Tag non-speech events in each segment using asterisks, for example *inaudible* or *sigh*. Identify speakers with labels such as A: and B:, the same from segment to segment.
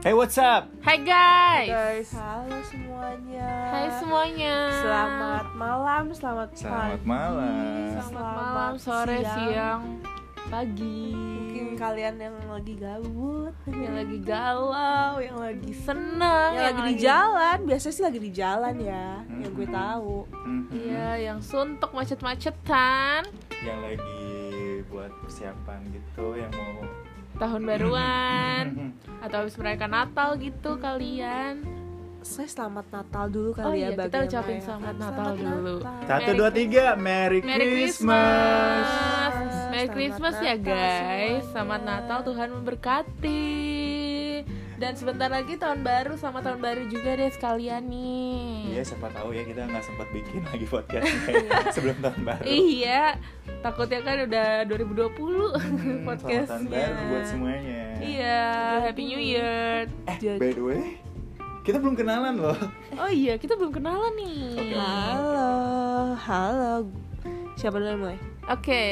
A: Hey, what's up?
B: Hai guys.
C: guys. Halo semuanya.
B: Hai semuanya.
C: Selamat malam, selamat
A: Selamat
C: pagi.
A: malam.
B: Selamat
C: Selamat
B: malam, sore,
C: siang.
B: siang, pagi.
C: Mungkin kalian yang lagi gabut,
B: yang lagi galau, yang lagi senang,
C: yang, lagi di jalan, biasanya sih lagi di jalan ya, yang
D: Hmm.
C: gue tahu.
A: Mhm.
B: Iya, yang suntuk macet-macetan,
A: Yang lagi buat persiapan gitu, yang mau Mhm.
B: tahun baruan atau habis merayakan Natal gitu kalian.
C: Saya selamat Natal dulu kali
B: Oh
C: ya
B: iya, kita
C: bagaimana
B: ucapin
C: ya.
B: selamat Natal dulu.
A: satu
B: Merry-
A: dua tiga Merry,
B: Merry
A: Christmas.
B: Christmas. Merry
C: Selamat
B: Christmas ya
C: Natal
B: guys.
C: semuanya.
B: Selamat Natal, Tuhan memberkati. Dan sebentar lagi tahun baru sama tahun baru juga deh sekalian nih.
A: Iya siapa tahu ya kita nggak sempat bikin lagi
B: *laughs*
A: podcastnya sebelum tahun baru.
B: Iya, takutnya kan udah 2020
A: Hmm,
B: *laughs*
A: Selamat
B: podcastnya.
A: tahun baru buat Eh. semuanya.
B: Iya, Happy New Year.
C: Eh, Jadi-
A: By the way, kita belum kenalan loh.
B: Oh iya, kita belum kenalan nih.
A: Oke.
C: Halo, halo. Siapa dulu yang mulai?
B: Oke,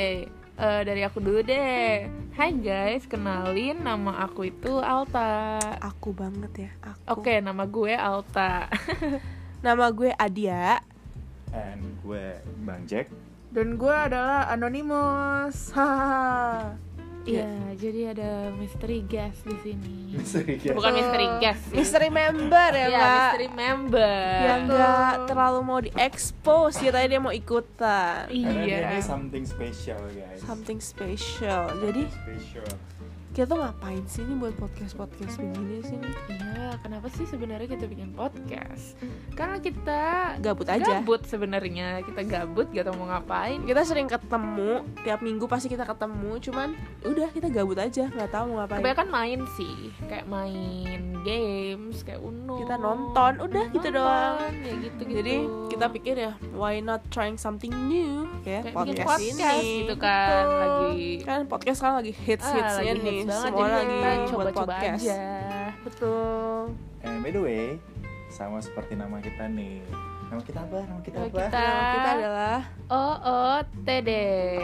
B: eh, dari aku dulu deh. Hai guys, kenalin nama aku itu Alta.
C: Aku banget ya, aku.
B: Oke, nama gue Alta. *laughs*
C: Nama gue Adia.
A: And gue Bang Jack. *laughs*
D: dan gue adalah anonymous *laughs* hahaha
B: Iya, jadi ada misteri guest di sini.
A: Sorry, guys.
B: Bukan misteri guest. sih.
C: Misteri Hmm. member ya,
B: Iya,
C: Mbak.
B: misteri member. Iya.
C: yang nggak terlalu mau diekspos ya tadi dia mau ikutan
A: Karena dia
B: Iya.
A: ini something special guys.
C: something special jadi
A: Special.
C: kita tuh ngapain sih ini buat podcast podcast begini sih nih?
B: Iya, kenapa sih sebenarnya kita bikin podcast? Karena kita
C: gabut aja
B: gabut sebenarnya. Kita gabut, gak tau mau ngapain.
C: kita sering ketemu tiap minggu pasti kita ketemu cuman ya udah kita gabut aja nggak tahu mau ngapain
B: Kebanyakan gitu. main sih, kayak main games, kayak Uno.
C: Kita nonton, udah gitu doang.
B: Ya gitu gitu.
C: jadi kita pikir ya why not trying something new kayak
B: Kayak bikin
C: podcast,
B: podcast
C: ini
B: gitu kan, lagi
C: kan podcast sekarang lagi hits
B: ah,
C: hitsnya
B: lagi
C: nih
B: hits banget,
C: semua
B: jadi
C: lagi
B: kita
C: buat
B: coba-coba
C: podcast
B: aja.
C: betul
A: And by the way, sama seperti nama kita nih. Nama kita apa? Nama kita
B: Nama
A: apa?
B: kita-
C: Nah, kita adalah
B: OOTD.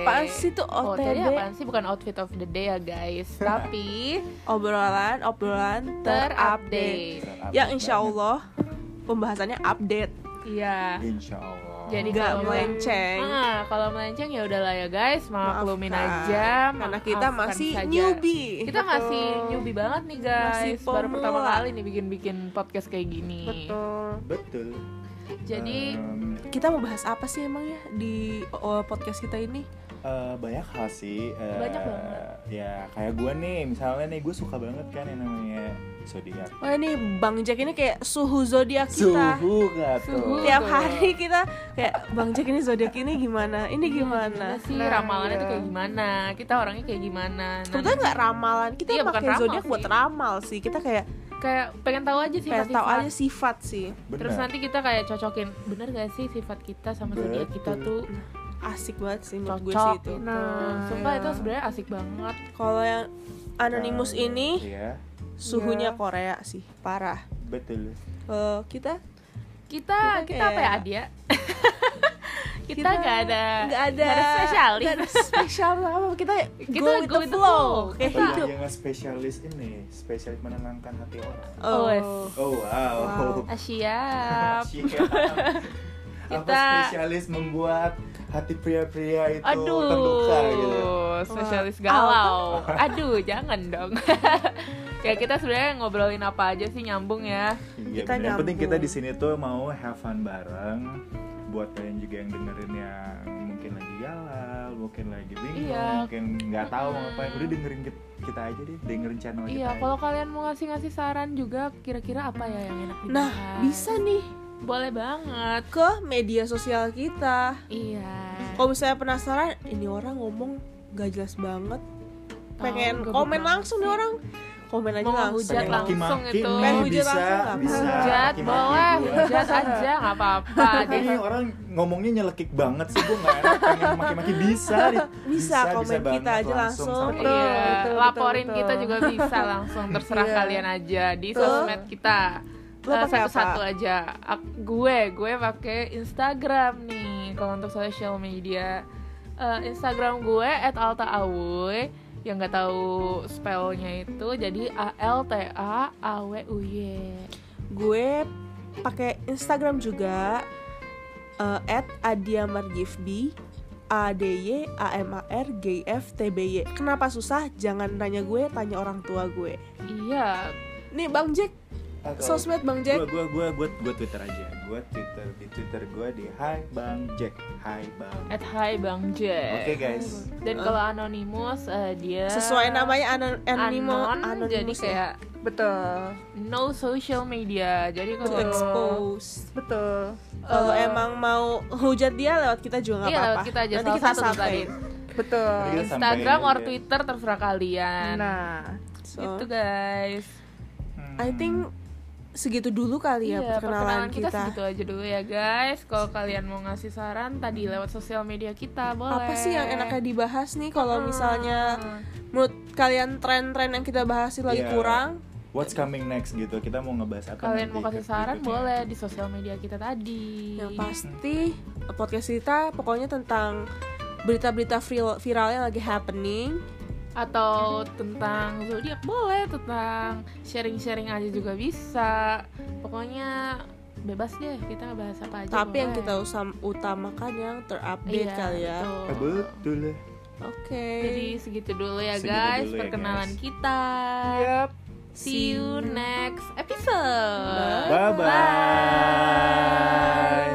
C: apaan sih tuh
B: OOTD
C: OTD
B: Oh, apaan sih? Bukan outfit of the day ya guys, tapi
C: obrolan obrolan terupdate
B: terupdate.
C: yang insya Allah pembahasannya update
B: Iya.
A: Insya Allah.
B: Jadi
C: Nggak
B: kalau
C: melenceng.
B: Ah, kalau melenceng ya udahlah ya guys, maklumin
C: Maafkan.
B: aja.
C: karena kita
B: maafkan
C: masih
B: saja.
C: newbie
B: Kita masih
C: Betul.
B: newbie banget nih guys.
C: Masih
B: Baru pertama
C: pemula.
B: kali nih bikin-bikin podcast kayak gini.
C: betul
A: betul.
B: Jadi
A: Em,
C: kita mau bahas apa sih emang ya di oh, podcast kita ini
A: eh, banyak hal sih. eh,
B: Banyak banget.
A: Ya kayak gue nih, misalnya nih gue suka banget kan yang namanya zodiak.
C: wah ini bang Jack ini kayak suhu zodiak kita
A: Suhu gak tuh?
B: Suhu.
C: tiap
B: Betul.
C: hari kita kayak bang Jack ini zodiak ini gimana ini
B: Iya,
C: gimana
B: sih ramalannya tuh
C: Iya.
B: kayak gimana? Kita orangnya kayak gimana? Nah,
C: Sebetulnya nggak ramalan kita
B: Iya, bukan
C: pakai
B: ramal
C: zodiak
B: sih.
C: buat ramal sih kita kayak
B: kayak pengen tahu aja sih
C: pengen tahu aja sifat sih
A: Bener.
B: Terus nanti kita kayak cocokin, bener gak sih sifat kita sama zodiak kita tuh
C: asik banget sih menurut gue sih
B: cocok?
C: itu
B: Nah, sumpah itu sebenarnya asik banget.
C: Kalau yang Anonymous
B: Nah.
A: Eh,
C: ini
A: Iya,
C: suhunya
B: Iya.
C: Korea sih, parah.
A: betul.
C: Kalau kita
B: kita
C: Kita
B: kita apa ya
C: kayak-
B: Adia *laughs* kita
C: Kita
B: Eh, nggak ada
C: nggak ada
B: nggak spesialis
C: nggak ada *laughs* spesial apa kita
B: Kita
C: go with
B: go
C: the
B: with the
C: flow,
B: flow. Iya.
C: kayak gitu.
A: Atau
B: Kita-
C: hidup.
A: yang spesialis ini, spesialis menenangkan hati orang.
B: Oh, yes.
A: Oh wow.
B: Ah, siap
A: Siap. Apa
B: Kita-
A: spesialis membuat hati pria-pria itu
B: *laughs* aduh
A: terluka gitu.
B: spesialis
C: Wah,
B: galau aduh jangan dong *laughs* ya kita sebenarnya ngobrolin apa aja sih nyambung ya
A: Iya,
C: Kita
A: bener. yang penting
C: nyambung.
A: kita di sini tuh mau have fun bareng. Buat kalian juga yang dengerin yang mungkin lagi galau, mungkin lagi bingung,
B: Iya.
A: mungkin nggak tahu mau ngapain, udah dengerin kit- kita, aja deh, dengerin channel kita.
B: iya
A: aja.
B: kalau kalian mau ngasih ngasih saran juga kira-kira apa ya yang enak
C: Nah,
B: dibahas?
C: bisa nih
B: boleh banget
C: ke media sosial kita.
B: iya
A: Oh,
C: Kalau misalnya penasaran, ini orang ngomong gak jelas banget.
B: Tahu,
C: Pengen
B: gabut
C: komen
B: banget
C: langsung nih
B: sih.
C: orang. Komen aja
B: Mau
C: langsung.
B: hujat
A: Pengen
B: langsung
A: maki-maki
B: itu.
A: nih,
C: Pengen hujat
A: bisa,
C: langsung,
A: bisa.
B: hujat
A: maki-maki
B: boleh
A: gua.
B: hujat aja
A: *laughs*
B: nggak apa-apa
A: Tapi ini orang ngomongnya nyelekik banget sih, gue nggak enak pengen maki-maki bisa. di-
C: Bisa,
A: bisa
C: komen
A: banget
C: kita aja langsung.
A: sampai-
C: Betul,
B: iya,
C: betul, betul,
B: laporin
C: betul.
B: kita juga bisa langsung terserah
C: Iya.
B: kalian aja di
C: Betul.
B: sosmed kita.
C: Lu
B: Eh,
C: pakai apa?
B: satu-satu aja. Ak- gue, gue pakai Instagram nih kalau untuk social media. Eh, Instagram gue @altaawoy yang nggak tahu spellnya itu jadi A L T A A W U Y
C: gue pakai Instagram juga eh, at @adiamargifb a d y a m a r g f t b y kenapa susah jangan tanya gue tanya orang tua gue
B: iya
C: nih bang Jack sosmed bang Jack
A: Gue gue gue gue gue Twitter aja. Gue Twitter di Twitter gue di Hai Bang Jack. Hai Bang.
B: at Hi Bang Jack
A: Oke guys.
B: dan kalau anonymous eh, dia
C: sesuai namanya anon animo
B: anon, jadi
C: anonymous ya.
B: kayak
D: Betul,
B: no social media jadi
C: Untuk
B: kalau
C: expose
D: betul,
C: kalau emang mau hujat dia lewat kita juga
B: Eh,
C: nggak
B: Iya,
C: apa-apa
B: lewat kita aja
C: nanti
B: salah
C: kita
B: satu tuh
C: sampai
B: tadi.
A: Nanti
D: betul.
A: kita
B: Instagram
A: sampein
B: or
A: ya.
B: Twitter terserah kalian
D: Nah,
C: So,
B: gitu guys
A: Hmm.
C: I think segitu dulu kali ya
B: Iya,
C: perkenalan,
B: kita,
C: kita.
B: segitu aja dulu ya guys. Kalau kalian mau ngasih saran tadi lewat sosial media kita boleh. Ah,
C: Apa sih yang enaknya dibahas nih kalau misalnya menurut kalian tren-tren yang kita bahas itu lagi
A: Iya.
C: kurang?
A: What's coming next gitu. Kita mau ngebahas apa
B: Kalian
A: nanti
B: mau kasih
A: ke
B: saran
A: berikutnya.
B: boleh di sosial media kita tadi.
C: Yang Ya, pasti podcast kita pokoknya tentang berita-berita viral, viral yang lagi happening.
B: Atau tentang zodiak boleh, tentang sharing-sharing aja juga bisa. Pokoknya bebas deh kita ngebahas apa aja.
C: tapi yang
B: boleh.
C: kita usam, utamakan yang terupdate
B: Iya,
C: kali ya.
B: betul.
A: Eh, Betul. lah.
C: Oke.
B: Jadi segitu dulu ya
A: Segitu
B: guys
A: dulu ya,
B: perkenalan
A: guys.
B: kita.
C: Iya.
D: yep.
B: See you next episode.
A: Bye bye.